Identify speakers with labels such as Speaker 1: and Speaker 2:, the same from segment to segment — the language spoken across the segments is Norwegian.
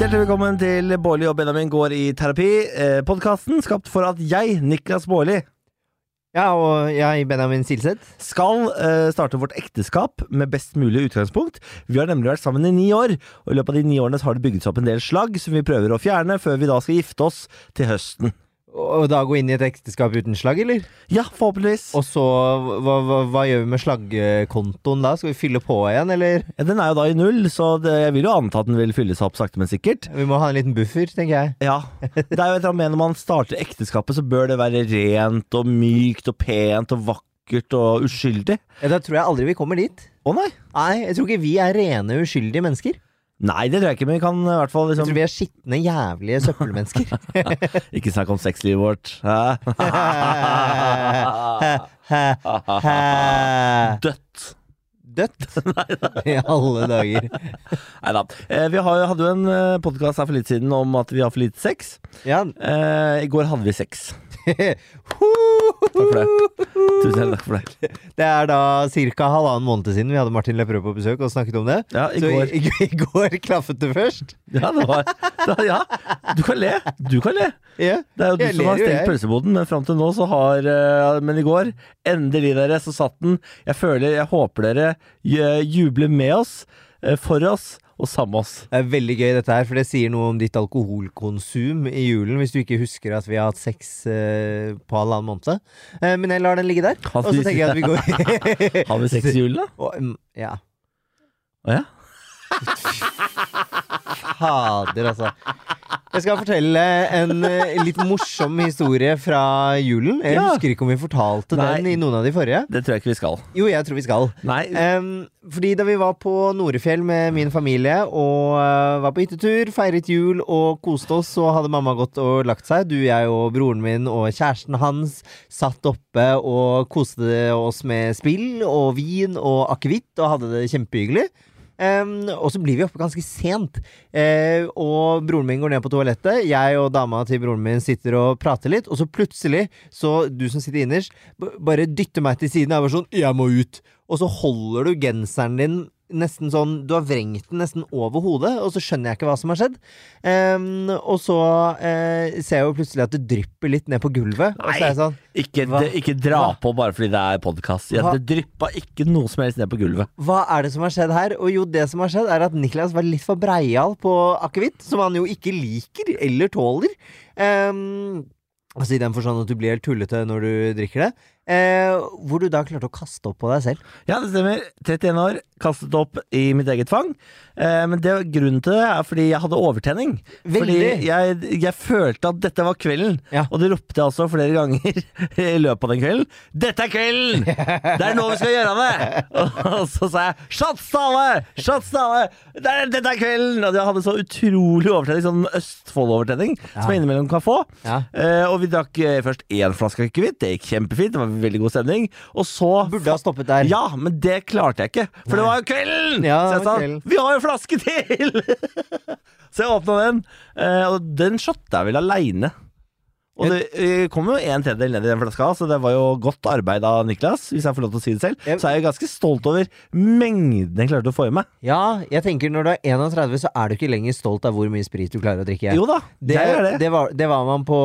Speaker 1: Hjertelig velkommen til Bårli og Benjamin går i terapi. Eh, Podkasten skapt for at jeg, Niklas Bårli,
Speaker 2: Ja, og jeg, Benjamin Silseth.
Speaker 1: skal eh, starte vårt ekteskap med best mulig utgangspunkt. Vi har nemlig vært sammen i ni år, og i løpet av de ni årene så har det bygget seg opp en del slagg som vi prøver å fjerne før vi da skal gifte oss til høsten.
Speaker 2: Og da gå inn i et ekteskap uten slagg, eller?
Speaker 1: Ja, forhåpentligvis.
Speaker 2: Og så, hva, hva, hva gjør vi med slaggkontoen da? Skal vi fylle på igjen, eller?
Speaker 1: Ja, Den er jo da i null, så det, jeg vil jo anta at den vil fylle seg opp sakte, men sikkert.
Speaker 2: Vi må ha en liten buffer, tenker jeg.
Speaker 1: Ja. Det er jo et eller annet med når man starter ekteskapet, så bør det være rent og mykt og pent og vakkert og uskyldig.
Speaker 2: Ja, da tror jeg aldri vi kommer dit.
Speaker 1: Å nei!
Speaker 2: Nei, jeg tror ikke vi er rene, uskyldige mennesker.
Speaker 1: Nei, det tror jeg ikke, men vi kan i hvert fall
Speaker 2: Jeg
Speaker 1: liksom
Speaker 2: tror vi er skitne, jævlige søppelmennesker.
Speaker 1: Ikke snakk om sexlivet vårt. Hæ? Dødt.
Speaker 2: Dødt. I alle dager.
Speaker 1: Nei da. Eh, Vi har, hadde jo en podkast her for litt siden om at vi har for lite sex.
Speaker 2: Ja.
Speaker 1: Eh, I går hadde vi sex.
Speaker 2: Takk
Speaker 1: for det. Tusen hjertelig takk for det.
Speaker 2: Det er da ca. halvannen måned siden vi hadde Martin Lepperød på besøk og snakket om det.
Speaker 1: Ja, i
Speaker 2: Så
Speaker 1: går.
Speaker 2: i, i går klaffet det først.
Speaker 1: Ja, det var da, Ja, du kan le. Du kan le.
Speaker 2: Ja.
Speaker 1: Det er jo du
Speaker 2: Jeg
Speaker 1: som har
Speaker 2: ler jo,
Speaker 1: stengt
Speaker 2: jeg.
Speaker 1: pølseboden, men fram til nå så har eh, Men i går, endelig dere, så satt den. Jeg føler, jeg håper dere eh, jubler med oss, eh, for oss og sammen med oss.
Speaker 2: Det er veldig gøy dette her, for det sier noe om ditt alkoholkonsum i julen, hvis du ikke husker at vi har hatt sex eh, på halvannen måned. Eh, men jeg lar den ligge der,
Speaker 1: Har
Speaker 2: og så
Speaker 1: vi-
Speaker 2: tenker jeg at vi går
Speaker 1: Har vi sex i julen, da?
Speaker 2: Og, mm, ja.
Speaker 1: Å ja?
Speaker 2: Fader, altså. Jeg skal fortelle en eh, litt morsom historie fra julen. Jeg
Speaker 1: Ja.
Speaker 2: husker ikke om vi fortalte
Speaker 1: Nei.
Speaker 2: den i noen av de forrige.
Speaker 1: Det tror jeg ikke vi skal.
Speaker 2: Jo, jeg tror vi skal.
Speaker 1: Nei.
Speaker 2: Em, fordi da vi var på Norefjell med min familie og eh, var på hyttetur, feiret jul og koste oss, så hadde mamma gått og lagt seg. Du, jeg og broren min og kjæresten hans satt oppe og koste oss med spill og vin og akevitt og hadde det kjempehyggelig. Em, og så blir vi oppe ganske sent, Eh, og broren min går ned på toalettet. Jeg og dama til broren min sitter og prater litt, og så plutselig, så du som sitter innerst, b bare dytter meg til siden. Jeg var sånn 'Jeg må ut'. Og så holder du genseren din nesten sånn Du har vrengt den nesten over hodet, og så skjønner jeg ikke hva som har skjedd. Em, og så eh, ser jeg jo plutselig at det drypper litt ned på gulvet, og så er jeg sånn
Speaker 1: Ikke,
Speaker 2: Hva?
Speaker 1: d- ikke dra
Speaker 2: Hva?
Speaker 1: på bare fordi det er podkast.
Speaker 2: Hva?
Speaker 1: Det dryppa ikke noe som helst ned på gulvet.
Speaker 2: Hva er det som har skjedd her? Og jo, det som har skjedd, er at Niklas var litt for breial på akevitt, som han jo ikke liker eller tåler. Ehm, altså i den forstand at du blir helt tullete når du drikker det. Eh, hvor du da klarte å kaste opp på deg selv.
Speaker 1: Ja, det stemmer. 31 år, kastet opp i mitt eget fang. Eh, men det, grunnen til det er fordi jeg hadde overtenning. Fordi
Speaker 2: Veldig.
Speaker 1: jeg, jeg følte at dette var kvelden,
Speaker 2: Ja.
Speaker 1: og det ropte jeg altså flere ganger i løpet av den kvelden. 'Dette er kvelden! Det er nå vi skal gjøre det!' Og så sa jeg 'shots til alle! Shots til alle! Det er, dette er kvelden!' Og jeg hadde så utrolig overtenning, sånn Østfold-overtenning, som jeg innimellom kan få.
Speaker 2: Ja.
Speaker 1: Eh, og vi drakk eh, først én flaske akevitt, det gikk kjempefint, det var veldig god stemning. Og så
Speaker 2: Burde ha stoppet der.
Speaker 1: ja, men det klarte jeg ikke, for det var jo kvelden!
Speaker 2: Ja,
Speaker 1: så
Speaker 2: det
Speaker 1: jeg sa
Speaker 2: var kvelden.
Speaker 1: vi har en flaske til! så jeg åpna den, eh, og den shotta jeg vel aleine. Og det eh, kom jo en tredjedel ned i den flaska, så det var jo godt arbeid av Niklas. Hvis jeg får lov til å si det selv.
Speaker 2: Jeg-
Speaker 1: Så er jeg ganske stolt over mengden jeg klarte å få i meg.
Speaker 2: Ja, jeg tenker når du er 31, så er du ikke lenger stolt av hvor mye sprit du klarer å drikke.
Speaker 1: Jo da,
Speaker 2: det,
Speaker 1: jeg gjør
Speaker 2: det.
Speaker 1: det.
Speaker 2: var, det var man på,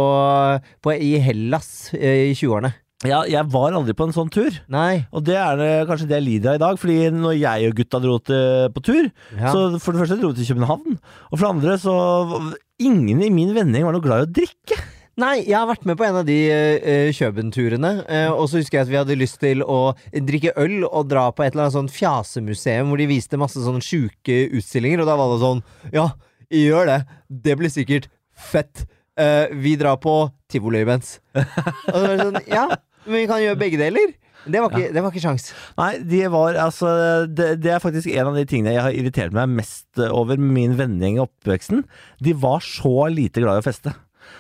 Speaker 2: på i Hellas eh, i 20-årene.
Speaker 1: Ja, jeg var aldri på en sånn tur.
Speaker 2: Nei.
Speaker 1: Og det er eh, kanskje det jeg lider av i dag, fordi når jeg og gutta dro til, på tur,
Speaker 2: Ja.
Speaker 1: Så for det første dro vi til København, og for det andre så Ingen i min vennegjeng var noe glad i å drikke.
Speaker 2: Nei, jeg har vært med på en av de uh, Kjøben-turene. eh, og så husker jeg at vi hadde lyst til å drikke øl og dra på et eller annet sånn fjasemuseum hvor de viste masse sånn sjuke utstillinger, og da var det sånn Ja, gjør det. Det blir sikkert fett. Eh, vi drar på tivoli imens. og så var det sånn Ja, men vi kan gjøre begge deler. Det var ikke, det var ikke sjans.
Speaker 1: Nei, de var, altså, det, det er faktisk en av de tingene jeg har irritert meg mest over med min vennegjeng i oppveksten. De var så lite glad i å feste.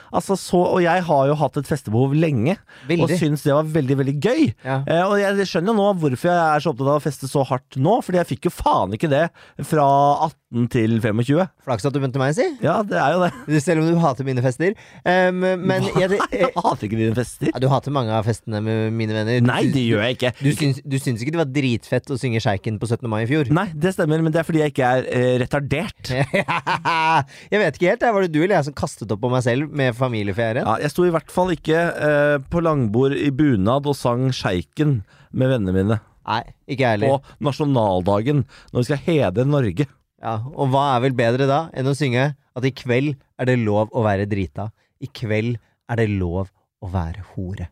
Speaker 1: Altså så, og jeg har jo hatt et festebehov lenge, og
Speaker 2: Veldig.
Speaker 1: syns det var veldig, veldig gøy.
Speaker 2: Ja.
Speaker 1: Eh, og jeg skjønner jo nå hvorfor jeg er så opptatt av å feste så hardt nå, fordi jeg fikk jo faen ikke det fra 18 til 25.
Speaker 2: Flaks at du begynte meg, si.
Speaker 1: Ja, det er jo det.
Speaker 2: Selv om du hater mine fester. Um, men jeg,
Speaker 1: Jeg hater ikke dine fester.
Speaker 2: ja, du hater mange av festene med mine venner. Du
Speaker 1: Nei,
Speaker 2: syns-
Speaker 1: det gjør jeg ikke.
Speaker 2: Du syns, du syns ikke det var dritfett å synge Sjeiken på 17. mai i fjor?
Speaker 1: Nei, det stemmer, men det er fordi jeg ikke er eh, retardert.
Speaker 2: jeg vet ikke helt. Der var det du eller jeg som kastet opp på meg selv med familieferien.
Speaker 1: Ja, jeg sto i hvert fall ikke eh, på langbord i bunad og sang Sjeiken med vennene mine
Speaker 2: Nei, ikke jeg
Speaker 1: på
Speaker 2: heller.
Speaker 1: nasjonaldagen, når vi skal hedre Norge.
Speaker 2: Ja, og hva er vel bedre da enn å synge at i kveld er det lov å være drita. I kveld er det lov å være hore.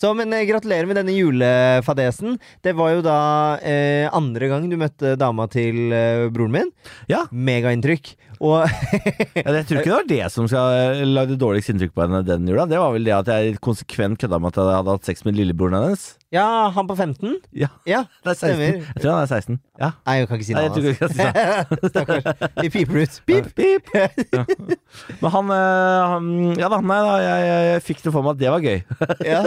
Speaker 2: Så, men eh, Gratulerer med denne julefadesen. Det var jo da eh, andre gang du møtte dama til eh, broren min.
Speaker 1: Ja.
Speaker 2: Megainntrykk. Og
Speaker 1: Ja, jeg tror ikke det var det som skal eh, lagde dårligst inntrykk på henne den jula. Det var vel det at jeg konsekvent kødda med at jeg hadde hatt sex med lillebroren hennes.
Speaker 2: ja, han på 15?
Speaker 1: Ja,
Speaker 2: Ja,
Speaker 1: det er 16.
Speaker 2: Stemmer.
Speaker 1: Jeg tror han er 16. Ja.
Speaker 2: Nei, jeg kan ikke si
Speaker 1: Nei,
Speaker 2: noe
Speaker 1: jeg tror ikke jeg skal si det.
Speaker 2: Stakkars. Vi piper ut. Pip!
Speaker 1: Pip. Ja. Men han, eh, han Ja da, nei da, jeg, jeg, jeg fikk det for meg at det var gøy.
Speaker 2: Ja.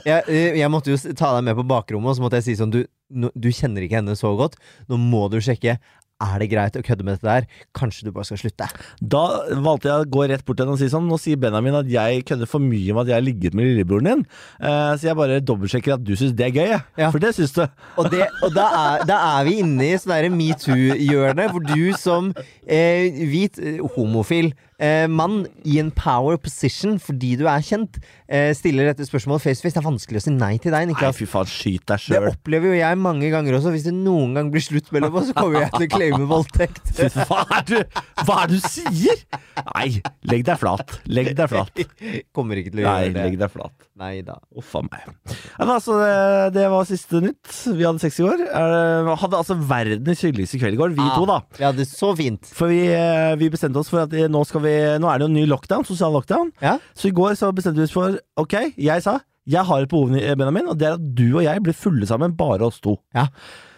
Speaker 2: Jeg, jeg måtte jo s- ta deg med på bakrommet, og så måtte jeg si sånn du, nå- du kjenner ikke henne så godt. Nå må du sjekke. Er det greit å kødde med dette der? Kanskje du bare skal slutte?
Speaker 1: Da valgte jeg å gå rett bort til henne og si sånn Nå sier Benjamin at jeg kødder for mye med at jeg har ligget med lillebroren din. Eh, så jeg bare dobbeltsjekker at du syns det er gøy, jeg.
Speaker 2: Ja.
Speaker 1: For det syns du.
Speaker 2: Og, det, og da, er, da er vi inne i sånn derre metoo-hjørne, hvor du som eh, hvit, eh, homofil eh, mann i en power position fordi du er kjent, eh, stiller dette spørsmålet face to face. Det er vanskelig å si nei til deg,
Speaker 1: Nei,
Speaker 2: Niklas.
Speaker 1: fy faen, skyt deg
Speaker 2: Det
Speaker 1: sjøl.
Speaker 2: opplever jo jeg mange ganger også. Hvis det noen gang blir slutt mellom oss, så kommer jeg til å claime voldtekt.
Speaker 1: Fy, Hva er det hva er det du sier?! Nei, legg deg flat. Legg deg flat.
Speaker 2: Kommer ikke til å
Speaker 1: Nei,
Speaker 2: gjøre
Speaker 1: legg
Speaker 2: det.
Speaker 1: deg flat.
Speaker 2: Nei da.
Speaker 1: Uff a meg. Ja, men altså, det, det var siste nytt. Vi hadde sex i går. Eh, hadde altså verdens hyggeligste kveld i går,
Speaker 2: Ah.
Speaker 1: vi to, da.
Speaker 2: Ja, det er så fint.
Speaker 1: For vi, eh, vi bestemte oss for at eh, nå, skal vi, nå er det jo en ny lockdown, sosial lockdown.
Speaker 2: Ja.
Speaker 1: Så i går så bestemte vi oss for Ok, jeg sa jeg har et behov, eh, Benjamin, og det er at du og jeg blir fulle sammen, bare oss to.
Speaker 2: Ja.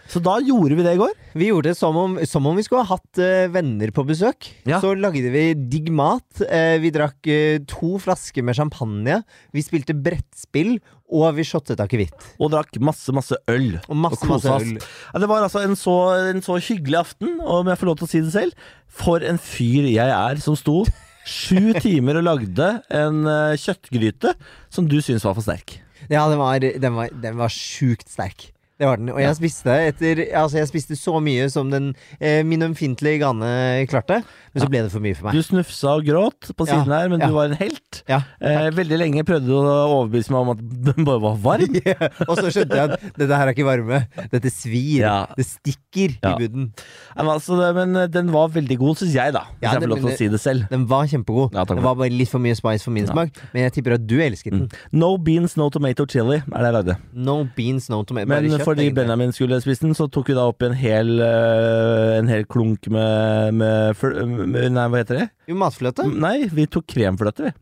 Speaker 1: Så da gjorde vi det i går.
Speaker 2: Vi gjorde det som om, som om vi skulle ha hatt eh, venner på besøk.
Speaker 1: Ja.
Speaker 2: Så lagde vi digg mat. eh, vi drakk eh, to flasker med champagne. Vi spilte brettspill, og vi shottet akevitt.
Speaker 1: Og drakk masse, masse øl.
Speaker 2: Og masse,
Speaker 1: og kosa
Speaker 2: masse
Speaker 1: oss.
Speaker 2: øl.
Speaker 1: Ja, det var altså en så, en så hyggelig aften, og om jeg får lov til å si det selv, for en fyr jeg er som sto sju timer og lagde en eh, kjøttgryte som du syns var for sterk.
Speaker 2: Ja, den var, den var, den var sjukt sterk. Det var den. Og jeg spiste etter Altså, jeg spiste så mye som den eh, min ømfintlige gane klarte, men så ble det for mye for meg.
Speaker 1: Du snufsa og gråt på
Speaker 2: Ja,
Speaker 1: siden her, men
Speaker 2: ja.
Speaker 1: du var en helt.
Speaker 2: Ja.
Speaker 1: Eh, veldig lenge prøvde du å overbevise meg om at den bare var varm.
Speaker 2: og så skjønte jeg at dette her er ikke varme. Dette svir.
Speaker 1: Ja.
Speaker 2: Det stikker
Speaker 1: Ja.
Speaker 2: i budden.
Speaker 1: Nei, Men, altså, det- men eh, den var veldig god, syns jeg, da. Hvis
Speaker 2: Ja,
Speaker 1: jeg
Speaker 2: det-
Speaker 1: får lov til å
Speaker 2: men det-
Speaker 1: si det selv.
Speaker 2: Den var kjempegod.
Speaker 1: Ja, takk for
Speaker 2: det
Speaker 1: det.
Speaker 2: var bare litt for mye spice for min smak, men jeg tipper at du elsket den.
Speaker 1: No beans, no tomato chili er det jeg lagde.
Speaker 2: No beans, no tomato.
Speaker 1: Mm. Men
Speaker 2: bare kjøtt,
Speaker 1: fordi
Speaker 2: egentlig.
Speaker 1: Benjamin skulle spise den, så tok vi da opp en hel, eh, en hel klunk med, med, fl- med Nei, hva heter det?
Speaker 2: Jo, matfløte.
Speaker 1: Nei, vi tok kremfløte, vi.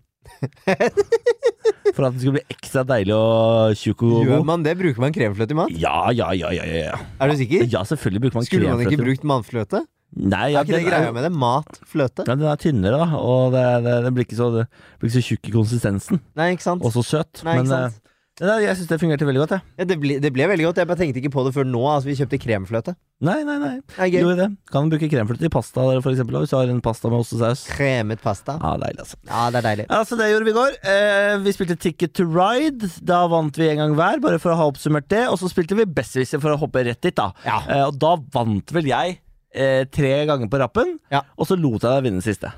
Speaker 1: For at den skulle bli ekstra deilig og tjukk og
Speaker 2: Gjør
Speaker 1: god.
Speaker 2: man det? Bruker man kremfløte i mat?
Speaker 1: Ja, ja, ja, ja, ja. ja.
Speaker 2: Er du sikker?
Speaker 1: Ja, selvfølgelig bruker man
Speaker 2: Skulle man ikke
Speaker 1: kremfløte.
Speaker 2: brukt matfløte?
Speaker 1: Nei, ja,
Speaker 2: er ikke det
Speaker 1: den er jo-
Speaker 2: greia med det? Matfløte?
Speaker 1: Ja, den er tynnere, da, og det, det, den blir ikke så, det blir ikke så tjukk i konsistensen.
Speaker 2: Nei, ikke sant?
Speaker 1: Og så søt.
Speaker 2: Nei, ikke
Speaker 1: men
Speaker 2: sant?
Speaker 1: eh, nei, jeg syns det fungerte veldig godt, jeg.
Speaker 2: Ja, det, ble, det ble veldig godt. Jeg bare tenkte ikke på det før nå. Altså, vi kjøpte kremfløte.
Speaker 1: Nei, nei, nei.
Speaker 2: Nei, gøy.
Speaker 1: Gjorde det. Kan bruke kremfløte i pasta for eksempel, hvis du har en pasta med ostesaus.
Speaker 2: Kremet pasta.
Speaker 1: Ja, deilig, altså.
Speaker 2: Ja, det er deilig.
Speaker 1: Ja, så Det gjorde vi i går. Eh, vi spilte Ticket to Ride. Da vant vi en gang hver, bare for å ha oppsummert det. Og så spilte vi Besserwisser for å hoppe rett dit, da.
Speaker 2: Ja.
Speaker 1: Eh, og da vant vel jeg eh, tre ganger på rappen,
Speaker 2: Ja.
Speaker 1: og så lot jeg deg vinne siste.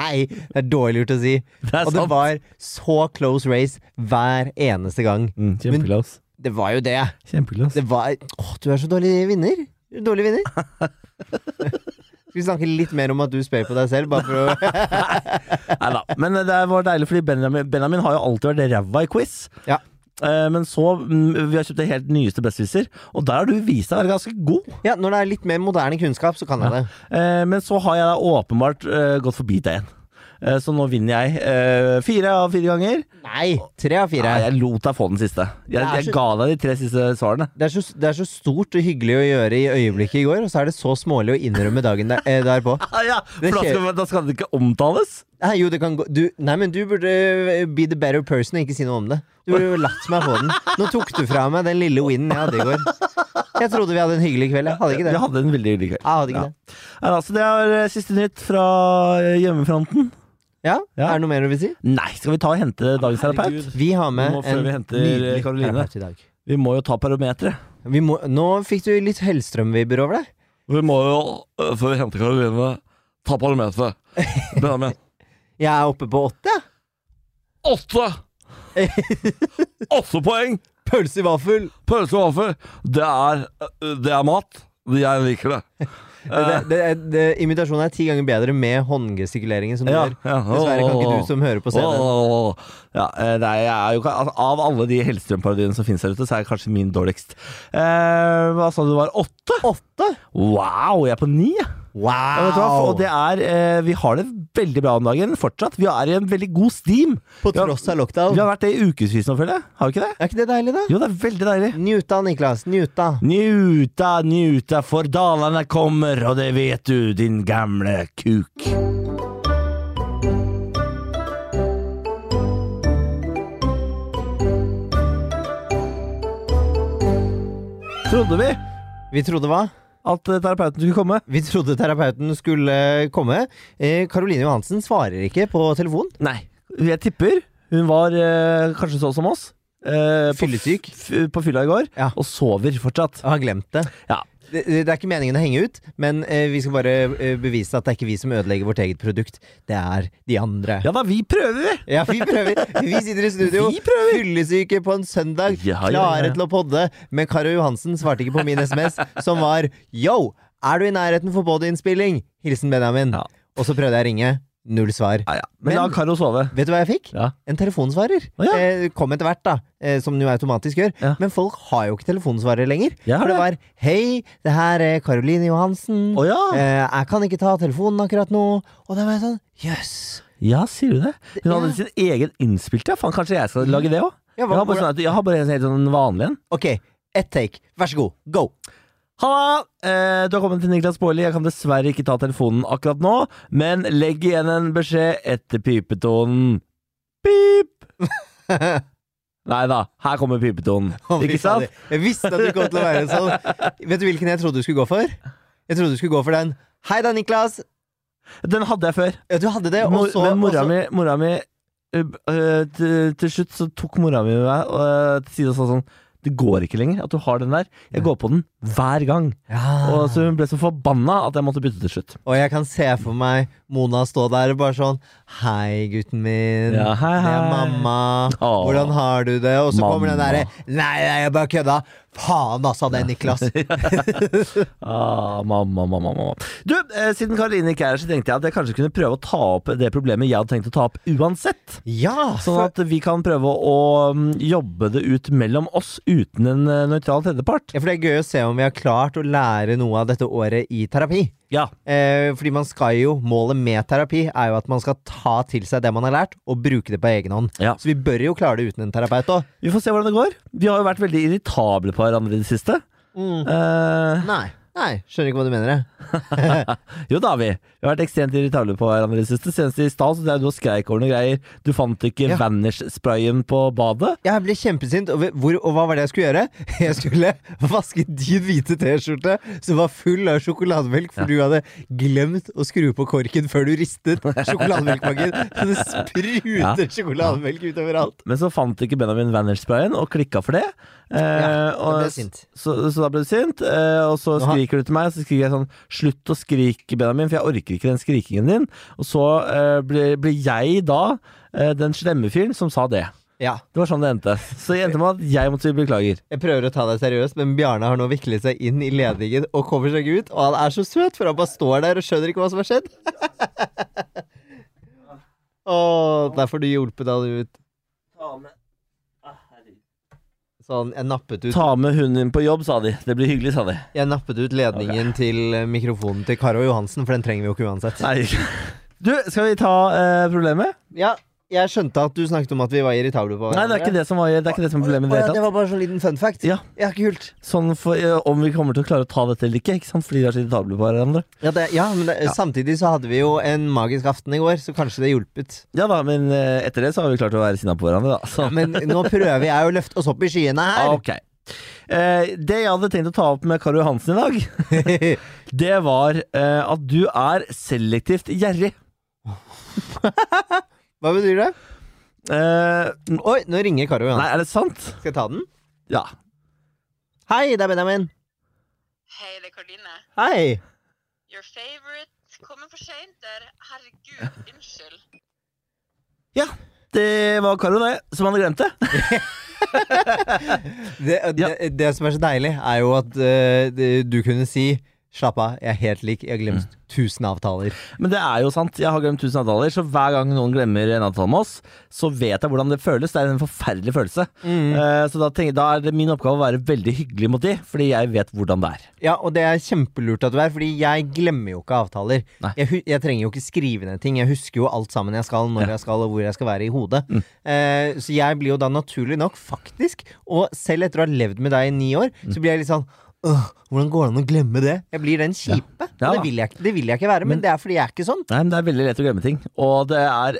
Speaker 2: Hei, det er dårlig gjort å si.
Speaker 1: Det er
Speaker 2: Og det
Speaker 1: sant.
Speaker 2: var så close race hver eneste gang.
Speaker 1: Mm, Kjempeclose.
Speaker 2: Det var jo det.
Speaker 1: Kjempeclose.
Speaker 2: Det var Åh, du er så dårlig vinner. Du er Dårlig vinner. Skal vi snakke litt mer om at du spør på deg selv? Bare for å
Speaker 1: Nei da. Men det var deilig, fordi Benjamin, Benjamin har jo alltid vært ræva i quiz.
Speaker 2: Ja.
Speaker 1: Eh, men så mm, Vi har kjøpt det helt nyeste Besserwisser, og der har du vist deg å være ganske god.
Speaker 2: Ja, når det er litt mer moderne kunnskap, så kan jeg det.
Speaker 1: Eh, men så har jeg da åpenbart eh, gått forbi deg igjen. Eh, Så nå vinner jeg eh, fire av fire ganger.
Speaker 2: Nei! Tre av fire.
Speaker 1: Nei, jeg lot deg få den siste. Jeg,
Speaker 2: Det er
Speaker 1: jeg
Speaker 2: så-
Speaker 1: ga deg de tre siste svarene.
Speaker 2: Det er, så, det er så stort og hyggelig å gjøre i øyeblikket i går, og så er det så smålig å innrømme dagen der, eh, derpå.
Speaker 1: Ah, ja,
Speaker 2: Det
Speaker 1: for da skal, da skal det ikke omtales?
Speaker 2: Nei, jo, det kan gå du, Nei, men du burde eh, be the better person og ikke si noe om det. Du burde jo latt meg få den. Nå tok du fra meg den lille winnen jeg hadde i går. Jeg trodde vi hadde en hyggelig kveld. Jeg hadde ikke
Speaker 1: Vi
Speaker 2: det.
Speaker 1: hadde en veldig hyggelig kveld.
Speaker 2: Jeg hadde ikke
Speaker 1: Ja.
Speaker 2: det.
Speaker 1: Nei, altså, det er eh, siste nytt fra eh, hjemmefronten.
Speaker 2: Ja?
Speaker 1: Ja.
Speaker 2: Er det noe mer du vil si?
Speaker 1: Nei, skal vi ta og hente dagens terapeut?
Speaker 2: Vi har med
Speaker 1: Nå må- før
Speaker 2: en
Speaker 1: vi henter, eh,
Speaker 2: nydelig
Speaker 1: Karoline.
Speaker 2: terapeut i dag.
Speaker 1: Vi må jo ta barometeret.
Speaker 2: Vi må, nå fikk du litt Hellstrøm-vibber over deg.
Speaker 1: Vi må jo, øh, før vi henter Karoline, ta barometeret. Benjamin.
Speaker 2: Jeg er oppe på åtte. jeg.
Speaker 1: Åtte! Åtte poeng!
Speaker 2: Pølse i vaffel.
Speaker 1: Pølse og vaffel. Det er, øh, det er mat. Jeg liker det.
Speaker 2: Det,
Speaker 1: Eh,
Speaker 2: det, det, imitasjonen er ti ganger bedre med håndgestikuleringen som du
Speaker 1: Eh, ja,
Speaker 2: gjør.
Speaker 1: ja.
Speaker 2: Dessverre kan ikke du som hører på
Speaker 1: Åh,
Speaker 2: scenen.
Speaker 1: åh, åh. Ja, eh, nei, jeg er jo, ikke- altså, av alle de Hellstrøm-parodiene som finnes der ute, så er kanskje min dårligst. Eh, hva sa du det var? Åtte?
Speaker 2: Åtte?
Speaker 1: Wow, jeg er på ni. jeg. Ja, vet du hva?
Speaker 2: Wow!
Speaker 1: Og det er, eh, vi har det veldig bra om dagen fortsatt. Vi er i en veldig god steam.
Speaker 2: på
Speaker 1: Ja.
Speaker 2: tross av lockdown.
Speaker 1: Vi har vært det i ukevis nå, føler jeg. Har vi ikke det?
Speaker 2: Er ikke det deilig, da?
Speaker 1: Jo, det er veldig deilig.
Speaker 2: Njuta, Niklas. Njuta.
Speaker 1: Njuta, njuta, for dalane kommer, og det vet du, din gamle kuk. Trodde vi
Speaker 2: Vi trodde hva?
Speaker 1: at eh, terapeuten skulle komme?
Speaker 2: Vi trodde terapeuten skulle komme. Eh, Karoline Johansen svarer ikke på telefon.
Speaker 1: Nei. Jeg tipper hun var eh, kanskje sånn som oss. eh, på
Speaker 2: Fyllesyk.
Speaker 1: f- På fylla i går,
Speaker 2: Ja.
Speaker 1: og sover fortsatt.
Speaker 2: Jeg har glemt det.
Speaker 1: Ja.
Speaker 2: Det, det er ikke meningen å henge ut, men eh, vi skal bare eh, bevise at det er ikke vi som ødelegger vårt eget produkt. Det er de andre.
Speaker 1: Ja da, vi prøver, vi!
Speaker 2: Ja, vi prøver. Vi sitter i studio,
Speaker 1: Vi prøver.
Speaker 2: fyllesyke på en søndag,
Speaker 1: Ja, ja, ja, ja.
Speaker 2: klare til å podde. Men Karo Johansen svarte ikke på min SMS, som var yo, er du i nærheten for poddeinnspilling? Hilsen Benjamin.
Speaker 1: Ja.
Speaker 2: Og så prøvde jeg å ringe. Null svar.
Speaker 1: Ja, ja. Men la
Speaker 2: Men-
Speaker 1: Karo sove.
Speaker 2: Vet du hva jeg fikk?
Speaker 1: Ja.
Speaker 2: En telefonsvarer.
Speaker 1: Å, ja.
Speaker 2: eh, kom etter hvert, da. Eh, som den jo automatisk gjør.
Speaker 1: Ja.
Speaker 2: Men folk har jo ikke telefonsvarer lenger.
Speaker 1: Ja,
Speaker 2: for det
Speaker 1: det.
Speaker 2: var hei, det her er Karoline Johansen.
Speaker 1: Å ja!
Speaker 2: Eh, jeg kan ikke ta telefonen akkurat nå. Og da var jeg sånn jøss.
Speaker 1: Ja, sier du det? Hun hadde
Speaker 2: Ja.
Speaker 1: sin egen innspilte, ja. Faen, kanskje jeg skal lage det òg?
Speaker 2: Ja,
Speaker 1: Jeg
Speaker 2: hva-
Speaker 1: har bare sånn at- jeg har bare en helt sånn vanlig en.
Speaker 2: Ok, ett take. Vær så god. Go!
Speaker 1: Halla! Eh, du har kommet til Niklas Baarli. Jeg kan dessverre ikke ta telefonen akkurat nå, men legg igjen en beskjed etter pipetonen. Pip! Nei da, her kommer pipetonen. Ikke sant?
Speaker 2: Jeg visste at du kom til å være sånn. Vet du hvilken jeg trodde du skulle gå for? Jeg trodde du skulle gå for den. Hei da, Niklas!
Speaker 1: Den hadde jeg før.
Speaker 2: Ja, Du hadde det, og
Speaker 1: Mor,
Speaker 2: så
Speaker 1: men mora
Speaker 2: og så-
Speaker 1: mi, mora mi eh, eh, til, til slutt så tok mora mi meg eh, til side og sa sånn Det går ikke lenger at du har den der. Jeg går på den hver gang.
Speaker 2: Ja.
Speaker 1: Og så hun ble så forbanna at jeg måtte bytte til slutt.
Speaker 2: Og jeg kan se for meg Mona stå der og bare sånn Hei, gutten min.
Speaker 1: Ja, hei,
Speaker 2: Det er
Speaker 1: hei.
Speaker 2: mamma.
Speaker 1: Åh.
Speaker 2: Hvordan har du det? Og så kommer den
Speaker 1: Mamma.
Speaker 2: derre Nei, nei, jeg bare kødda. Faen, altså, det, Niklas.
Speaker 1: Ah, mamma, mamma, mamma. Du, eh, siden Karoline ikke er her, så tenkte jeg at jeg kanskje kunne prøve å ta opp det problemet jeg hadde tenkt å ta opp uansett.
Speaker 2: Ja!
Speaker 1: Sånn
Speaker 2: for-
Speaker 1: at vi kan prøve å mm, jobbe det ut mellom oss uten en eh, nøytral tredjepart.
Speaker 2: Ja, for det er gøy å se om vi har klart å lære noe av dette året i terapi.
Speaker 1: Ja.
Speaker 2: Eh, fordi man skal jo, Målet med terapi er jo at man skal ta til seg det man har lært, og bruke det på egen hånd.
Speaker 1: Ja.
Speaker 2: Så vi bør jo klare det uten en terapeut òg.
Speaker 1: Vi får se hvordan det går. Vi har jo vært veldig irritable på hverandre i det siste.
Speaker 2: Mm.
Speaker 1: Eh,
Speaker 2: Nei. Nei, skjønner ikke hva du mener. jeg.
Speaker 1: jo da, vi. Vi har vært ekstremt irritable på hverandre i det siste. Senest i stad så drev du og skreik over noen greier. Du fant ikke
Speaker 2: Ja.
Speaker 1: Vanish-sprayen på badet.
Speaker 2: Jeg ble kjempesint, og, ve- hvor, og hva var det jeg skulle gjøre? Jeg skulle vaske din hvite T-skjorte som var full av sjokolademelk, for du hadde glemt å skru på korken før du ristet sjokolademelkpakken. Så det spruter sjokolademelk utover alt.
Speaker 1: Men så fant ikke Benjamin Vanish-sprayen og klikka for det. Eh,
Speaker 2: Ja, da ble
Speaker 1: og
Speaker 2: jeg sint.
Speaker 1: Så, så da ble du sint, eh, og så
Speaker 2: Nå har-
Speaker 1: skriker du til meg, og så skriker jeg sånn Slutt å skrike, Benjamin, for jeg orker ikke den skrikingen din. Og så eh, ble, ble jeg da eh, den slemme fyren som sa det.
Speaker 2: Ja,
Speaker 1: Det var sånn det endte. Så det endte med at jeg måtte si beklager.
Speaker 2: Jeg prøver å ta deg seriøst, men Bjarne har nå viklet seg inn i ledningen og kommer seg ikke ut. Og han er så søt, for han bare står der og skjønner ikke hva som har skjedd. Åh, der får du hjulpet han ut. Sånn, jeg nappet ut,
Speaker 1: Ta med hunden din på jobb, sa de. Det blir hyggelig, sa de.
Speaker 2: jeg nappet ut ledningen til eh, mikrofonen til Karo Johansen, for den trenger vi jo ikke uansett.
Speaker 1: Nei, Du, skal vi ta eh, problemet?
Speaker 2: Ja, jeg skjønte at du snakket om at vi var irritable på
Speaker 1: Nei, det er ikke det som, var, det er ikke det som er problemet i det
Speaker 2: Å ja,
Speaker 1: hele tatt.
Speaker 2: var bare sånn liten fun fact.
Speaker 1: Ja.
Speaker 2: kult.
Speaker 1: Sånn for, eh, om vi kommer til å klare å ta dette eller ikke, ikke sant? fordi vi er så irritable på hverandre.
Speaker 2: Ja, det, ja, men det, samtidig så hadde vi jo en magisk aften i går, så kanskje det hjulpet.
Speaker 1: Ja da, men eh, etter det så har vi klart å være sinna på hverandre, da. Så. ah,
Speaker 2: Men nå prøver jeg å løfte oss opp i skyene her.
Speaker 1: Ok. Eh, det jeg hadde tenkt å ta opp med Karo Hansen i dag, det var eh, at du er selektivt gjerrig.
Speaker 2: Hva betyr det?
Speaker 1: Eh, n-
Speaker 2: Oi, nå ringer Karo igjen.
Speaker 1: nei, er det sant?
Speaker 2: Skal jeg ta den?
Speaker 1: Ja.
Speaker 2: Hei, det er Benjamin.
Speaker 3: Hei, det er Karoline.
Speaker 2: Hei.
Speaker 3: Your favorite kommer for seint der. Herregud, unnskyld.
Speaker 1: Det var Karo, det, som hadde glemt det.
Speaker 2: Det,
Speaker 1: Ja.
Speaker 2: det, det som er så deilig, er jo at eh, det- du kunne si Slapp av, jeg er helt lik. Jeg har
Speaker 1: Mm.
Speaker 2: glemt tusen avtaler.
Speaker 1: Men det er jo sant. Jeg har glemt tusen avtaler, så hver gang noen glemmer en avtale med oss, så vet jeg hvordan det føles. Det er en forferdelig følelse.
Speaker 2: Mm.
Speaker 1: Eh, så da, tenker, da er det min oppgave å være veldig hyggelig mot de, fordi jeg vet hvordan det er.
Speaker 2: Ja, og det er kjempelurt at du er, fordi jeg glemmer jo ikke avtaler.
Speaker 1: Nei.
Speaker 2: Jeg, hu- jeg trenger jo ikke skrive ned ting. Jeg husker jo alt sammen jeg skal, når jeg skal, og hvor jeg skal være i hodet.
Speaker 1: Mm.
Speaker 2: Eh, så jeg blir jo da naturlig nok, faktisk, og selv etter å ha levd med deg i ni år,
Speaker 1: Mm.
Speaker 2: så blir jeg litt sånn Åh, hvordan går det an å glemme det? Jeg blir den kjipe.
Speaker 1: Ja
Speaker 2: og
Speaker 1: da.
Speaker 2: det, vil jeg, ikke- det vil jeg ikke være, men, det er fordi jeg er ikke sånn.
Speaker 1: Nei, men Det er veldig lett å glemme ting. Og det er,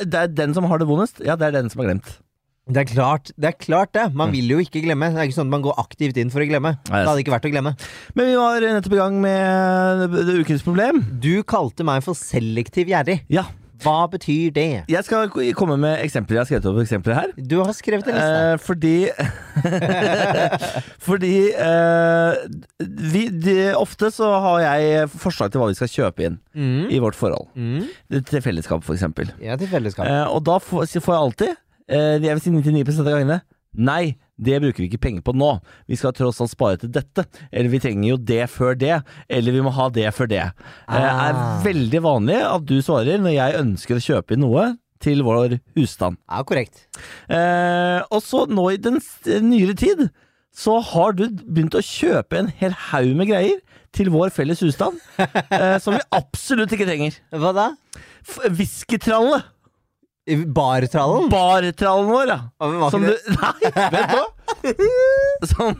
Speaker 1: det er den som har det vondest. Ja, det er den som har glemt.
Speaker 2: Det er klart, det. er klart det.
Speaker 1: Mm.
Speaker 2: Man vil jo ikke glemme. Det er ikke sånn at man går aktivt inn for å
Speaker 1: Nei,
Speaker 2: glemme. Det hadde ikke vært å glemme.
Speaker 1: Men vi var nettopp i gang med det ukens problem.
Speaker 2: Du kalte meg for selektiv gjerrig.
Speaker 1: Ja.
Speaker 2: Hva betyr det?
Speaker 1: Jeg skal k- komme med eksempler. Jeg har skrevet opp eksempler her.
Speaker 2: Du har skrevet en liste.
Speaker 1: Eh, fordi Fordi eh, vi, de, Ofte så har jeg forslag til hva vi skal kjøpe inn
Speaker 2: Mm.
Speaker 1: i vårt forhold.
Speaker 2: Mm.
Speaker 1: Til fellesskap, for eksempel.
Speaker 2: Ja, til fellesskap.
Speaker 1: Eh, og da får, så får jeg alltid, eh, jeg vil si 99 av gangene, nei, det bruker vi ikke penger på nå. Vi skal tross alt spare til dette. Eller vi trenger jo det før det. Eller vi må ha det før det. Eh, Det er
Speaker 2: Ah.
Speaker 1: veldig vanlig at du svarer når jeg ønsker å kjøpe inn noe til vår husstand.
Speaker 2: Ja, korrekt.
Speaker 1: Eh, og så nå i den s- eh, nyere tid så har du begynt å kjøpe en hel haug med greier til vår felles husstand eh, som vi absolutt ikke trenger.
Speaker 2: Hva da?
Speaker 1: F- Whiskytralle.
Speaker 2: Bartrallen?
Speaker 1: Bartrallen vår, ja.
Speaker 2: Var
Speaker 1: Som
Speaker 2: ikke
Speaker 1: du
Speaker 2: Mm. det?
Speaker 1: Nei, vent nå! Som,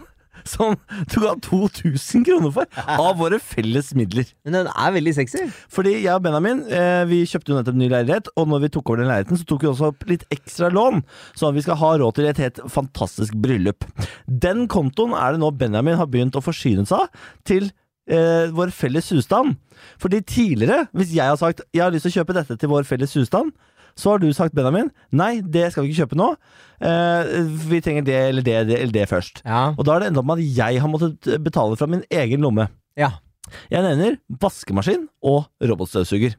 Speaker 1: som du ga 2000 kroner for av våre felles midler.
Speaker 2: Men den er veldig sexy.
Speaker 1: Fordi jeg og Benjamin eh, vi kjøpte jo nettopp ny leilighet, og når vi tok over den leiligheten, så tok vi også opp litt ekstra lån, sånn at vi skal ha råd til et helt fantastisk bryllup. Den kontoen er det nå Benjamin har begynt å forsyne seg av til eh, vår felles husstand. Fordi tidligere, hvis jeg har sagt jeg har lyst til å kjøpe dette til vår felles husstand, så har du sagt, Benjamin, nei, det skal vi ikke kjøpe nå. Eh, vi trenger det eller det, det eller det først.
Speaker 2: Ja.
Speaker 1: Og da har det endt opp med at jeg har måttet betale fra min egen lomme.
Speaker 2: ja.
Speaker 1: Jeg nevner vaskemaskin og robotstøvsuger.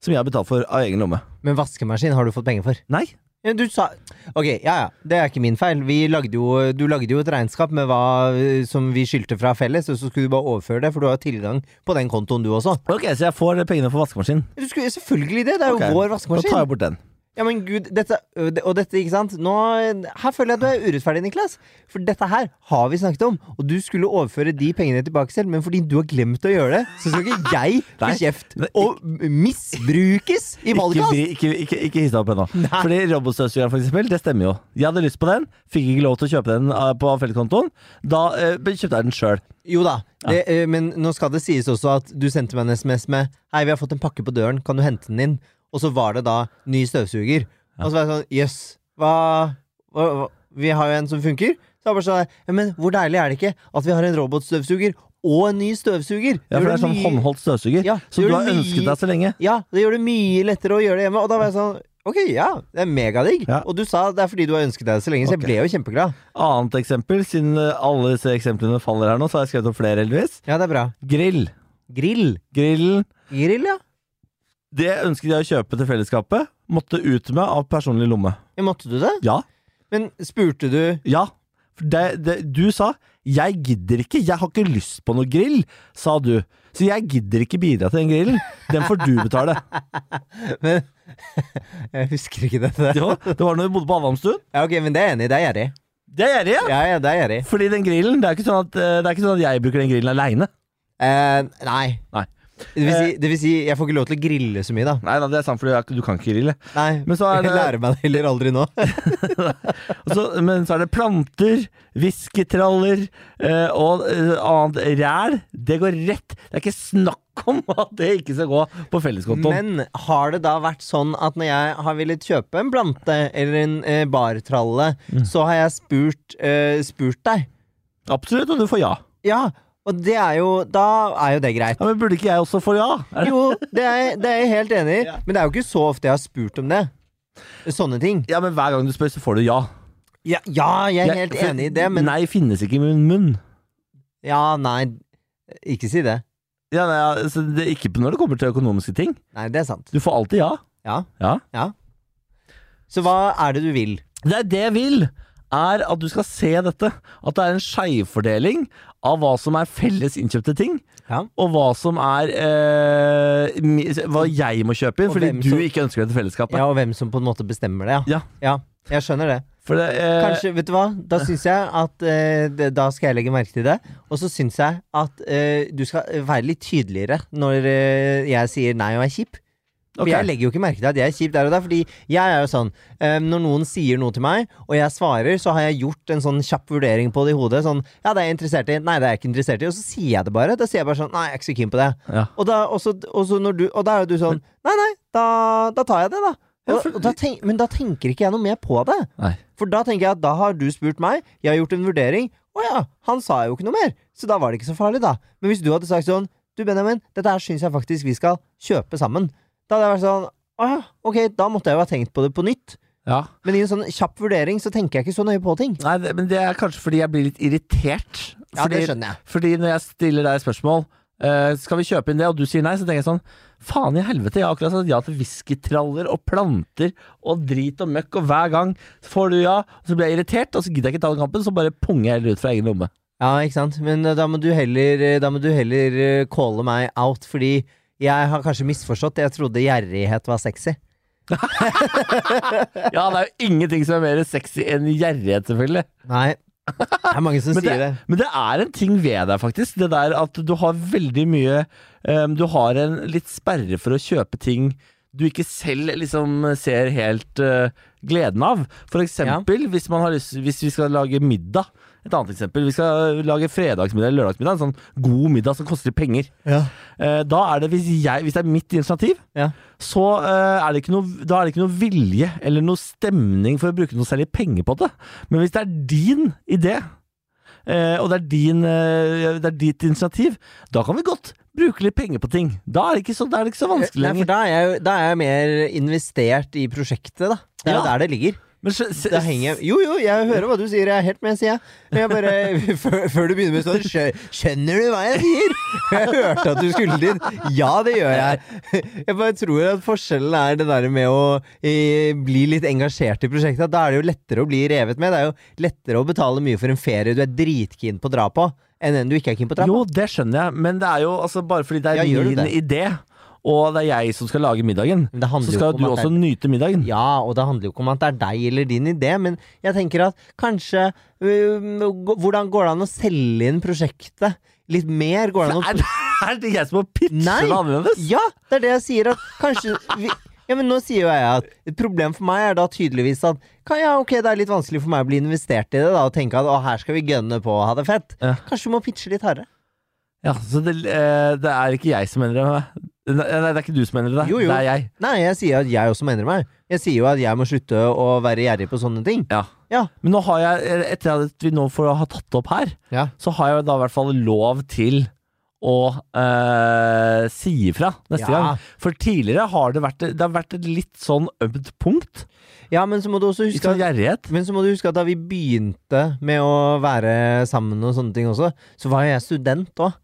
Speaker 1: Som jeg har betalt for av egen lomme.
Speaker 2: Men vaskemaskin har du fått penger for.
Speaker 1: Nei,
Speaker 2: Ja, du sa Ok, ja ja. Det er ikke min feil. Vi lagde jo, du lagde jo et regnskap med hva eh, som vi skyldte fra felles, og så skulle du bare overføre det, for du har tilgang på den kontoen du også.
Speaker 1: ok, så jeg får pengene for vaskemaskin.
Speaker 2: Du skulle, selvfølgelig det! Det er jo
Speaker 1: Ok, Da
Speaker 2: vår
Speaker 1: tar
Speaker 2: vaskemaskin.
Speaker 1: jeg bort den.
Speaker 2: Ja, men gud, dette, ø, det- og dette, ikke sant Nå, Her føler jeg at du er urettferdig, Niklas. For dette her har vi snakket om, og du skulle overføre de pengene tilbake selv, men fordi du har glemt å gjøre det, så skal ikke jeg få
Speaker 1: Nei.
Speaker 2: kjeft
Speaker 1: Men
Speaker 2: og misbrukes i
Speaker 1: Ikke,
Speaker 2: valgkast!
Speaker 1: vri- ikke, ikke, ikke hiss deg opp ennå. Fordi robotstøvsugeren, for eksempel, det stemmer jo. Jeg hadde lyst på den, fikk ikke lov til å kjøpe den eh, på felleskontoen. Da eh, kjøpte jeg den sjøl.
Speaker 2: Jo da, det, ø, men nå skal det sies også at du sendte meg en SMS med 'Hei, vi har fått en pakke på døren, kan du hente den inn?' Og så var det da ny støvsuger. Og så var jeg sånn 'Jøss, hva, hva, hva Vi har jo en som funker.' Så jeg bare sånn «Ja, Men hvor deilig er det ikke at vi har en robotstøvsuger og en ny støvsuger?
Speaker 1: Ja, for det er sånn
Speaker 2: mye-
Speaker 1: håndholdt støvsuger
Speaker 2: Ja,
Speaker 1: som
Speaker 2: gjør
Speaker 1: du
Speaker 2: det
Speaker 1: har ønsket
Speaker 2: mye-
Speaker 1: deg så lenge.
Speaker 2: Ja, det gjør det mye lettere å gjøre det hjemme. Og da var jeg sånn Ok, ja, det er megadigg.
Speaker 1: Ja.
Speaker 2: Og du sa det er fordi du har ønsket deg det så lenge, så jeg
Speaker 1: Ok.
Speaker 2: ble jo kjempeglad.
Speaker 1: Annet eksempel, siden eh, alle disse eksemplene faller her nå, så har jeg skrevet opp flere, heldigvis.
Speaker 2: Ja, det er bra.
Speaker 1: Grill.
Speaker 2: Grill.
Speaker 1: Grillen
Speaker 2: Grill, ja.
Speaker 1: Det ønsket jeg å kjøpe til fellesskapet. Måtte ut med av personlig lomme.
Speaker 2: Ja, Måtte du det?
Speaker 1: Ja.
Speaker 2: Men spurte du
Speaker 1: Ja. For det, det, du sa 'jeg gidder ikke, jeg har ikke lyst på noe grill', sa du. Så jeg gidder ikke bidra til den grillen. Den får du betale.
Speaker 2: Men jeg husker ikke dette.
Speaker 1: Jo, det var når vi bodde på Adamstuen.
Speaker 2: Ja, ok, men det er jeg enig i. Det er gjerrig.
Speaker 1: Det gjør jeg.
Speaker 2: Ja, ja, det er gjerrig.
Speaker 1: Fordi den grillen, det er ikke sånn at, eh, det er ikke sånn at jeg bruker den grillen aleine.
Speaker 2: Eh, nei.
Speaker 1: Nei.
Speaker 2: Det vil, si, det vil si, jeg får ikke lov til å grille så mye, da.
Speaker 1: Nei da, det er sant, for du er- du kan ikke grille.
Speaker 2: Nei,
Speaker 1: Men så er det-
Speaker 2: Jeg lærer meg det heller aldri nå.
Speaker 1: Og så, men så er det planter, whiskytraller eh, og eh, annet ræl. Det går rett. Det er ikke snakk om at det ikke skal gå på felleskontoen.
Speaker 2: Men har det da vært sånn at når jeg har villet kjøpe en plante eller en eh, bartralle,
Speaker 1: Mm.
Speaker 2: så har jeg spurt, eh, spurt deg?
Speaker 1: Absolutt, og du får ja.
Speaker 2: Ja, og det er jo Da er jo det greit.
Speaker 1: ja. Men burde ikke jeg også få ja? Er det?
Speaker 2: Jo, det er, det er jeg helt enig i,
Speaker 1: Ja.
Speaker 2: men det er jo ikke så ofte jeg har spurt om det. Sånne ting.
Speaker 1: Ja, men hver gang du spør, så får du ja.
Speaker 2: Ja, ja jeg er helt
Speaker 1: for
Speaker 2: enig i det, men
Speaker 1: Nei finnes ikke i min munn.
Speaker 2: Ja, nei, ikke si det.
Speaker 1: Ja, nei, altså, det, ikke når det kommer til økonomiske ting.
Speaker 2: Nei, det er sant.
Speaker 1: Du får alltid ja.
Speaker 2: Ja.
Speaker 1: Ja.
Speaker 2: Så hva er det du vil?
Speaker 1: Det er det jeg vil, er at du skal se dette. At det er en skjevfordeling av hva som er felles innkjøpte ting,
Speaker 2: Ja.
Speaker 1: og hva som er eh, mi- Hva jeg må kjøpe inn,
Speaker 2: Og
Speaker 1: fordi
Speaker 2: hvem
Speaker 1: du
Speaker 2: som-
Speaker 1: ikke ønsker det til fellesskapet.
Speaker 2: Ja, og hvem som på en måte bestemmer det,
Speaker 1: Ja.
Speaker 2: ja jeg skjønner det.
Speaker 1: For det, eh,
Speaker 2: Kanskje, vet du hva? Da syns jeg at eh, det, Da skal jeg legge merke til det. Og så syns jeg at eh, du skal være litt tydeligere når eh, jeg sier nei og er kjip. For
Speaker 1: Ok.
Speaker 2: jeg legger jo ikke merke til at jeg er kjip der og der, fordi jeg er jo sånn eh, Når noen sier noe til meg, og jeg svarer, så har jeg gjort en sånn kjapp vurdering på det i hodet. Sånn Ja, det er jeg interessert i. Nei, det er jeg ikke interessert i. Og så sier jeg det bare. Da sier jeg bare sånn Nei, jeg er ikke så keen på det.
Speaker 1: Ja.
Speaker 2: Og da, og så- og så når du, og da er jo du sånn Nei, nei, da, da tar jeg det, da.
Speaker 1: Ja,
Speaker 2: Og,
Speaker 1: for-
Speaker 2: og da tenk, men da tenker ikke jeg noe mer på det.
Speaker 1: Nei.
Speaker 2: For da tenker jeg at da har du spurt meg, jeg har gjort en vurdering. Å ja, han sa jo ikke noe mer, så da var det ikke så farlig, da. Men hvis du hadde sagt sånn Du, Benjamin, dette her syns jeg faktisk vi skal kjøpe sammen. Da hadde jeg vært sånn Å ja, ok, da måtte jeg jo ha tenkt på det på nytt.
Speaker 1: Ja.
Speaker 2: Men i en sånn kjapp vurdering så tenker jeg ikke så nøye på ting.
Speaker 1: Nei, det, men det er kanskje fordi jeg blir litt irritert.
Speaker 2: Ja,
Speaker 1: fordi,
Speaker 2: det skjønner jeg.
Speaker 1: Fordi når jeg stiller deg spørsmål eh, skal vi kjøpe inn det, og du sier nei, så tenker jeg sånn Faen i helvete, jeg har akkurat sagt ja til whiskytraller og planter og drit og møkk, og hver gang får du ja, og så blir jeg irritert, og så gidder jeg ikke ta den kampen, så bare punger jeg heller ut fra egen lomme.
Speaker 2: Ja, ikke sant? Men eh, da må du heller, eh, da må du heller eh, calle meg out, fordi jeg har kanskje misforstått. Jeg trodde gjerrighet var sexy.
Speaker 1: Ja, det er jo ingenting som er mer sexy enn gjerrighet, selvfølgelig.
Speaker 2: Nei. Det er mange som
Speaker 1: Men
Speaker 2: sier
Speaker 1: det,
Speaker 2: det.
Speaker 1: men det er en ting ved deg, faktisk. Det der at du har veldig mye ehm, Du har en litt sperre for å kjøpe ting du ikke selv liksom ser helt eh, gleden av. For eksempel hvis, man har lyst, hvis vi skal lage middag. Et annet eksempel. Vi skal lage fredagsmiddag eller lørdagsmiddag. En sånn god middag som koster penger.
Speaker 2: Ja.
Speaker 1: Eh, da er det, hvis, jeg, hvis det er mitt initiativ,
Speaker 2: Ja.
Speaker 1: så eh, er det ikke noe, da er det ikke noe vilje eller noe stemning for å bruke noe særlig penger på det. Men hvis det er din idé, eh, og det er, din, eh, det er ditt initiativ, da kan vi godt bruke litt penger på ting. Da er det ikke så, da er det ikke så vanskelig
Speaker 2: Nei, for
Speaker 1: lenger.
Speaker 2: da er, jeg, jo- da er jeg mer investert i prosjektet, da. Det er jo
Speaker 1: Ja.
Speaker 2: der det ligger.
Speaker 1: Men så- se-
Speaker 2: Da henger jeg Jo, jo, jeg hører hva du sier. Jeg er helt med, sier jeg. Men jeg bare, før, før du begynner med sånn skjø- Skjønner du hva jeg sier? Jeg hørte at du skulle dit. Ja, det gjør jeg. Jeg bare tror at forskjellen er det der med å eh, bli litt engasjert i prosjektet. Da er det jo lettere å bli revet med. Det er jo lettere å betale mye for en ferie du er dritkeen på å dra på, enn en du ikke er keen på å dra på.
Speaker 1: Jo, det skjønner jeg, men det er jo altså, bare fordi det er
Speaker 2: Ja, gjør du
Speaker 1: min idé, og det er jeg som skal lage middagen,
Speaker 2: Men det
Speaker 1: så
Speaker 2: handler jo
Speaker 1: skal
Speaker 2: ikke om
Speaker 1: du
Speaker 2: at det er-
Speaker 1: også nyte middagen.
Speaker 2: Ja, og det handler jo ikke om at det er deg eller din idé, men jeg tenker at kanskje øhm, gå- Hvordan går det an å selge inn prosjektet litt mer? Går det an
Speaker 1: Er,
Speaker 2: å
Speaker 1: er det jeg som må pitche
Speaker 2: Nei.
Speaker 1: det annerledes?
Speaker 2: Ja, det er det jeg sier, at kanskje vi ja, men nå sier jo jeg at Et problem for meg er da tydeligvis at kan, ja, ok, det er litt vanskelig for meg å bli investert i det da, og tenke at å, her skal vi gønne på og ha det fett.
Speaker 1: Ja.
Speaker 2: Kanskje vi må pitche litt hardere.
Speaker 1: Ja, så det, eh, det er ikke jeg som endrer meg. Nei, det er ikke du som endrer deg.
Speaker 2: Jo, jo.
Speaker 1: Det er jeg.
Speaker 2: Nei, jeg sier at jeg også må endre meg. Jeg sier jo at jeg må slutte å være gjerrig på sånne ting.
Speaker 1: Ja.
Speaker 2: Ja.
Speaker 1: Men nå har jeg, eh, etter at vi nå får ha tatt det opp her,
Speaker 2: Ja.
Speaker 1: så har jeg da i hvert fall lov til å eh, si ifra neste
Speaker 2: Ja.
Speaker 1: gang. For tidligere har det vært, det har vært et litt sånn ømt punkt.
Speaker 2: Ja, men så må du også
Speaker 1: Litt
Speaker 2: huske
Speaker 1: sånn
Speaker 2: at
Speaker 1: gjerrighet.
Speaker 2: Men så må du huske at da vi begynte med å være sammen og sånne ting også, så var jo jeg student òg.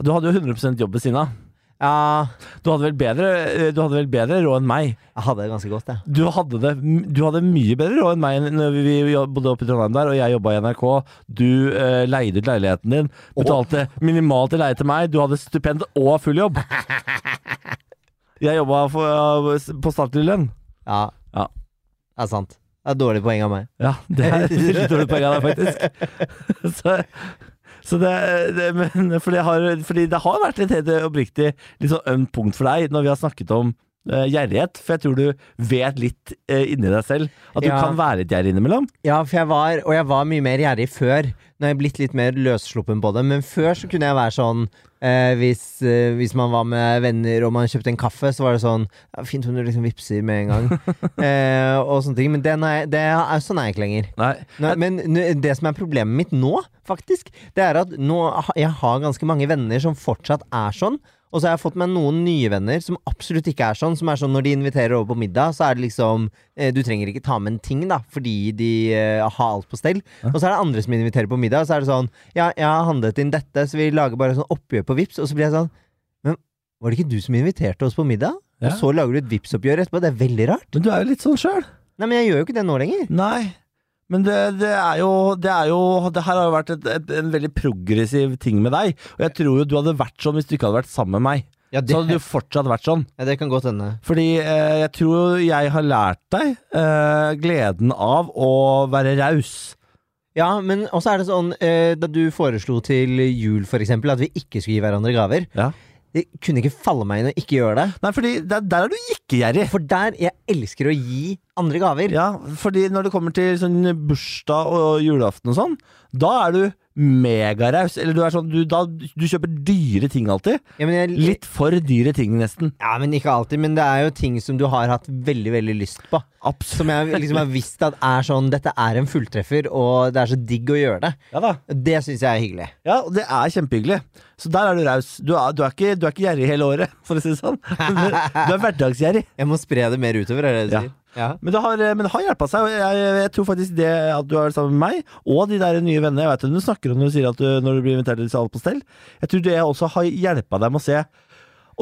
Speaker 1: Du hadde jo 100 jobb ved siden av.
Speaker 2: Ja,
Speaker 1: Du hadde vel bedre, eh, du hadde vel bedre råd enn meg.
Speaker 2: jeg hadde det ganske godt, jeg.
Speaker 1: Du hadde, det, du hadde mye bedre råd enn meg enn når vi vi bodde oppe i Trondheim der, og jeg jobba i NRK. Du eh, leide ut leiligheten din, betalte minimalt i leie til meg. Du hadde stipend og full jobb. Jeg jobba for- på statlig lønn.
Speaker 2: Ja,
Speaker 1: Ja.
Speaker 2: det er sant. Det er et dårlig poeng av meg.
Speaker 1: Ja, det er et veldig dårlig poeng av deg, faktisk. Så, Så det, det, men, fordi, jeg har, fordi det har vært litt helt oppriktig litt sånn ømt punkt for deg når vi har snakket om eh, gjerrighet. For jeg tror du vet litt eh, inni deg selv at du
Speaker 2: Ja.
Speaker 1: kan være litt gjerrig innimellom.
Speaker 2: Ja, for jeg var, og jeg var mye mer gjerrig før. Nå har jeg blitt litt mer løssluppen på det, men før så kunne jeg være sånn eh, hvis, eh, hvis man var med venner og man kjøpte en kaffe, så var det sånn ja, Fint om du liksom vippser med en gang. eh, og sånne ting. Men den er, det er, sånn er jeg ikke lenger.
Speaker 1: Nei.
Speaker 2: Nå, men nå- det som er problemet mitt nå, faktisk, det er at nå, ha- jeg har ganske mange venner som fortsatt er sånn. Og så har jeg fått meg noen nye venner som absolutt ikke er sånn. Som er sånn når de inviterer over på middag, så er det liksom eh, Du trenger ikke ta med en ting, da, fordi de eh, har alt på stell. Og så er det andre som inviterer på middag, og så er det sånn Ja, jeg har handlet inn dette, så vi lager bare sånn oppgjør på Vips Og så blir jeg sånn Men var det ikke du som inviterte oss på middag?
Speaker 1: Ja.
Speaker 2: Og så lager du et vips oppgjør etterpå? Det er veldig rart.
Speaker 1: Men du er jo litt sånn sjøl.
Speaker 2: Nei, men jeg gjør jo ikke det nå lenger.
Speaker 1: Nei. Men det, det er jo Det, er jo, det her har jo vært et, et, en veldig progressiv ting med deg. Og jeg tror jo du hadde vært sånn hvis du ikke hadde vært sammen med meg.
Speaker 2: Ja,
Speaker 1: Så hadde du fortsatt vært sånn.
Speaker 2: ja, det kan godt hende.
Speaker 1: Fordi eh, jeg tror jo jeg har lært deg eh, gleden av å være raus.
Speaker 2: Ja, men også er det sånn eh, Da du foreslo til jul for eksempel At vi ikke skulle gi hverandre gaver
Speaker 1: Ja.
Speaker 2: Det kunne ikke falle meg inn å ikke gjøre det
Speaker 1: Nei, fordi der, der er du ikke gjerrig.
Speaker 2: For der, jeg elsker å gi andre gaver
Speaker 1: Ja, fordi når det kommer til sånn bursdag og julaften og sånn, da er du megaraus. Eller du er sånn, du, da, du kjøper dyre ting alltid.
Speaker 2: Ja, men, jeg,
Speaker 1: Litt for dyre ting, nesten.
Speaker 2: ja, men ikke alltid Men det er jo ting som du har hatt veldig, veldig lyst på
Speaker 1: Absolutt.
Speaker 2: Som jeg liksom har visst at er sånn Dette er en fulltreffer Og det er så digg å gjøre det
Speaker 1: Ja da.
Speaker 2: Det synes jeg er hyggelig
Speaker 1: Ja, og det er kjempehyggelig. Så der er du raus. Du er, du er, ikke, du er ikke gjerrig hele året, for å si det sånn. Du du er hverdagsgjerrig.
Speaker 2: Jeg må spre det mer utover er det det du
Speaker 1: Ja.
Speaker 2: sier? Ja.
Speaker 1: Men det har, eh, men det har hjulpet seg, og jeg, jeg tror faktisk det at du er sammen med meg, og de der nye vennene jeg vet hvem du snakker om når du sier at du, når du blir invitert til alt på stell, jeg tror det også har hjulpet deg med å se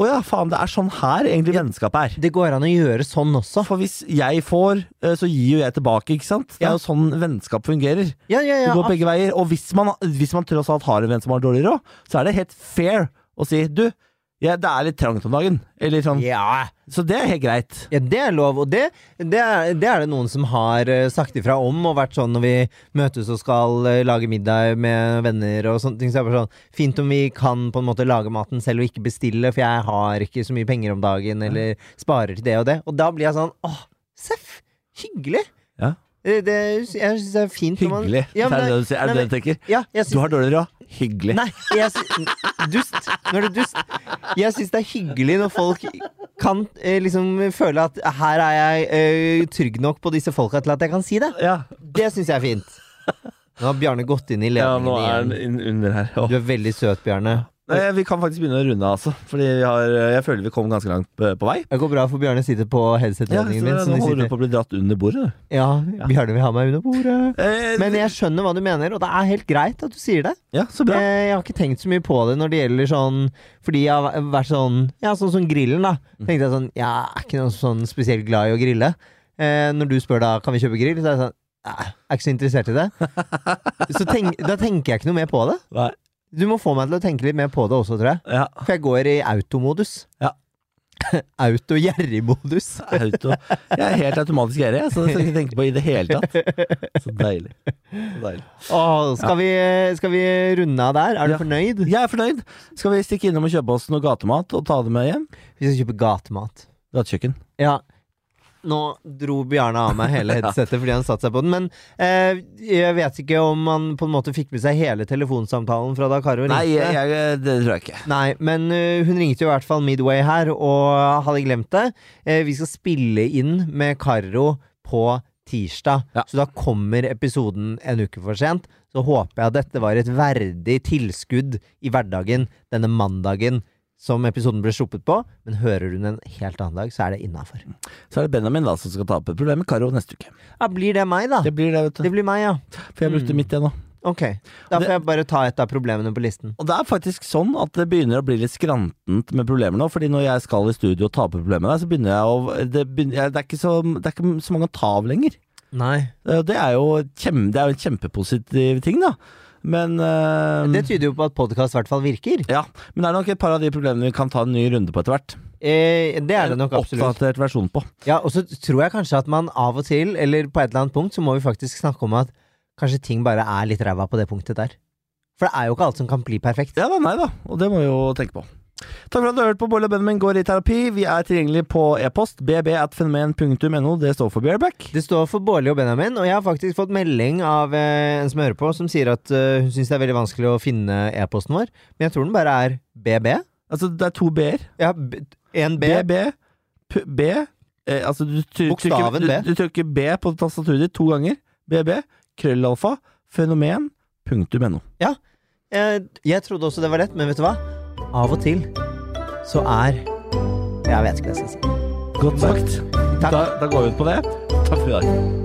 Speaker 1: Å ja, faen, det er sånn her egentlig vennskapet er.
Speaker 2: Det går an å gjøre sånn også
Speaker 1: For hvis jeg får, eh, så gir jo jeg tilbake, ikke sant? Det er
Speaker 2: Ja.
Speaker 1: jo sånn vennskap fungerer.
Speaker 2: Ja, ja,
Speaker 1: Det
Speaker 2: ja
Speaker 1: går begge veier. Og hvis man, hvis man tross alt har en venn som har dårlig råd, så er det helt fair å si du, ja, det er litt trangt om dagen. Eller sånn.
Speaker 2: Ja,
Speaker 1: Så det er helt greit.
Speaker 2: Ja, det er lov, og det, det, er, det er det noen som har eh, sagt ifra om, og vært sånn når vi møtes og skal eh, lage middag med venner og sånne ting, så er det bare sånn fint om vi kan på en måte lage maten selv og ikke bestille, for jeg har ikke så mye penger om dagen, eller sparer til det og det. Og da blir jeg sånn åh, seff, hyggelig.
Speaker 1: Ja.
Speaker 2: Det, det, jeg syns det er fint når man
Speaker 1: Hyggelig.
Speaker 2: Ja,
Speaker 1: er
Speaker 2: men,
Speaker 1: det det du sier? Er
Speaker 2: nei,
Speaker 1: det det
Speaker 2: men-
Speaker 1: du tenker?
Speaker 2: ja, jeg
Speaker 1: Du
Speaker 2: syns
Speaker 1: har dårlig råd. Hyggelig.
Speaker 2: Nei, jeg sy- dust. Nå er du dust. Jeg syns det er hyggelig når folk kan eh, liksom føle at her er jeg eh, trygg nok på disse folka til at jeg kan si det.
Speaker 1: Ja,
Speaker 2: Det syns jeg er fint. Nå har Bjarne gått inn i
Speaker 1: nå
Speaker 2: ledningen
Speaker 1: er
Speaker 2: igjen.
Speaker 1: den inn- under her. Åh.
Speaker 2: Du er veldig søt, Bjarne.
Speaker 1: Nei, vi kan faktisk begynne å runde, altså. Fordi vi har, eh, jeg føler vi kom ganske langt på, på vei.
Speaker 2: Det går bra, for Bjarne sitter på
Speaker 1: Ja, så
Speaker 2: headset-ledningen min.
Speaker 1: nå
Speaker 2: Som de
Speaker 1: holder du
Speaker 2: sitter.
Speaker 1: på å bli dratt under bordet. du.
Speaker 2: Ja, Bjarne vil ha meg under bordet.
Speaker 1: Eh,
Speaker 2: Men jeg skjønner hva du mener, og det er helt greit at du sier det.
Speaker 1: ja, så bra.
Speaker 2: Eh, Jeg har ikke tenkt så mye på det når det gjelder sånn Fordi jeg har vært sånn Ja, sånn som grillen, da.
Speaker 1: Mm.
Speaker 2: Tenkte jeg sånn Jeg er ikke noe sånn spesielt glad i å grille. Eh, når du spør da kan vi kjøpe grill, så er jeg sånn «Nei, Jeg er ikke så interessert i det. Så tenk, da tenker jeg ikke noe mer på det.
Speaker 1: Nei,
Speaker 2: Du må få meg til å tenke litt mer på det også, tror jeg.
Speaker 1: Ja,
Speaker 2: For jeg går i automodus.
Speaker 1: Ja.
Speaker 2: Auto-gjerrig-modus.
Speaker 1: auto. Jeg er helt automatisk gjerrig, jeg, så det skal jeg ikke tenke på i det hele tatt. Så deilig. Så deilig.
Speaker 2: Åh, Skal, vi- skal vi runde av der? Er du
Speaker 1: Ja.
Speaker 2: fornøyd?
Speaker 1: Jeg er fornøyd. Skal vi stikke innom og kjøpe oss noe gatemat og ta det med hjem?
Speaker 2: Vi skal kjøpe gatemat.
Speaker 1: Gatekjøkken.
Speaker 2: Ja nå dro Bjarne av meg hele headsetet fordi han satte seg på den, men eh, jeg vet ikke om han på en måte fikk med seg hele telefonsamtalen fra da Karo ringte.
Speaker 1: Nei, jeg, jeg, det tror jeg ikke.
Speaker 2: Nei, men eh, hun ringte jo i hvert fall Midway her, og hadde glemt det. Eh, vi skal spille inn med Karo på tirsdag,
Speaker 1: Ja.
Speaker 2: så da kommer episoden en uke for sent. Så håper jeg at dette var et verdig tilskudd i hverdagen denne mandagen som episoden ble sluppet på, men hører du den en helt annen dag, så er det innafor.
Speaker 1: Så er det Benjamin da som skal ta opp et problem med Karo neste uke.
Speaker 2: Ja, Ah, blir det meg, da?
Speaker 1: Det blir Ah. det, Mm. vet
Speaker 2: Det
Speaker 1: du.
Speaker 2: blir meg, ja.
Speaker 1: For jeg brukte mitt igjen nå.
Speaker 2: Ok. Da
Speaker 1: Det-
Speaker 2: får jeg bare ta et av problemene på listen.
Speaker 1: Og det er faktisk sånn at det begynner å bli litt skrantent med problemer nå, fordi når jeg skal i studio og ta opp problemet der, så begynner jeg å Det, begynner, jeg- det, er, ikke så, det er ikke så mange å ta av lenger.
Speaker 2: Nei.
Speaker 1: Eh, og Det er jo, kjem, det er jo en kjempepositiv ting, da. Men eh,
Speaker 2: Det tyder jo på at podkast i hvert fall virker.
Speaker 1: ja, men det er nok et par av de problemene vi kan ta en ny runde på etter hvert.
Speaker 2: Eh, det er det nok absolutt.
Speaker 1: Oppdatert versjon på.
Speaker 2: Ja, Og så tror jeg kanskje at man av og til, eller på et eller annet punkt, så må vi faktisk snakke om at kanskje ting bare er litt ræva på det punktet der. For det er jo ikke alt som kan bli perfekt.
Speaker 1: Ja da, nei da, og det må vi jo tenke på. Takk for at du har hørt på Bolle og Benjamin går i terapi. Vi er tilgjengelig på e-post bb.fenomen.no. Det står for Bareback.
Speaker 2: Det står for Bårli og Benjamin, og jeg har faktisk fått melding av eh, en som hører på, som sier at eh, hun syns det er veldig vanskelig å finne e-posten vår, men jeg tror den bare er BB.
Speaker 1: Altså, det er to b-er.
Speaker 2: Ja, b- en B.
Speaker 1: BB. P- B. Eh, altså, du try- trykker,
Speaker 2: Bokstaven
Speaker 1: du,
Speaker 2: B.
Speaker 1: du trykker B på tastaturet ditt to ganger. BB. Krøllalfa. Fenomen. Punktum no.
Speaker 2: Jeg, Eh, jeg trodde også det var lett, men vet du hva? Av og til så er Jeg vet ikke hva jeg skal si.
Speaker 1: Godt sagt.
Speaker 2: Takk.
Speaker 1: Da, da går vi ut på det. Takk for i dag.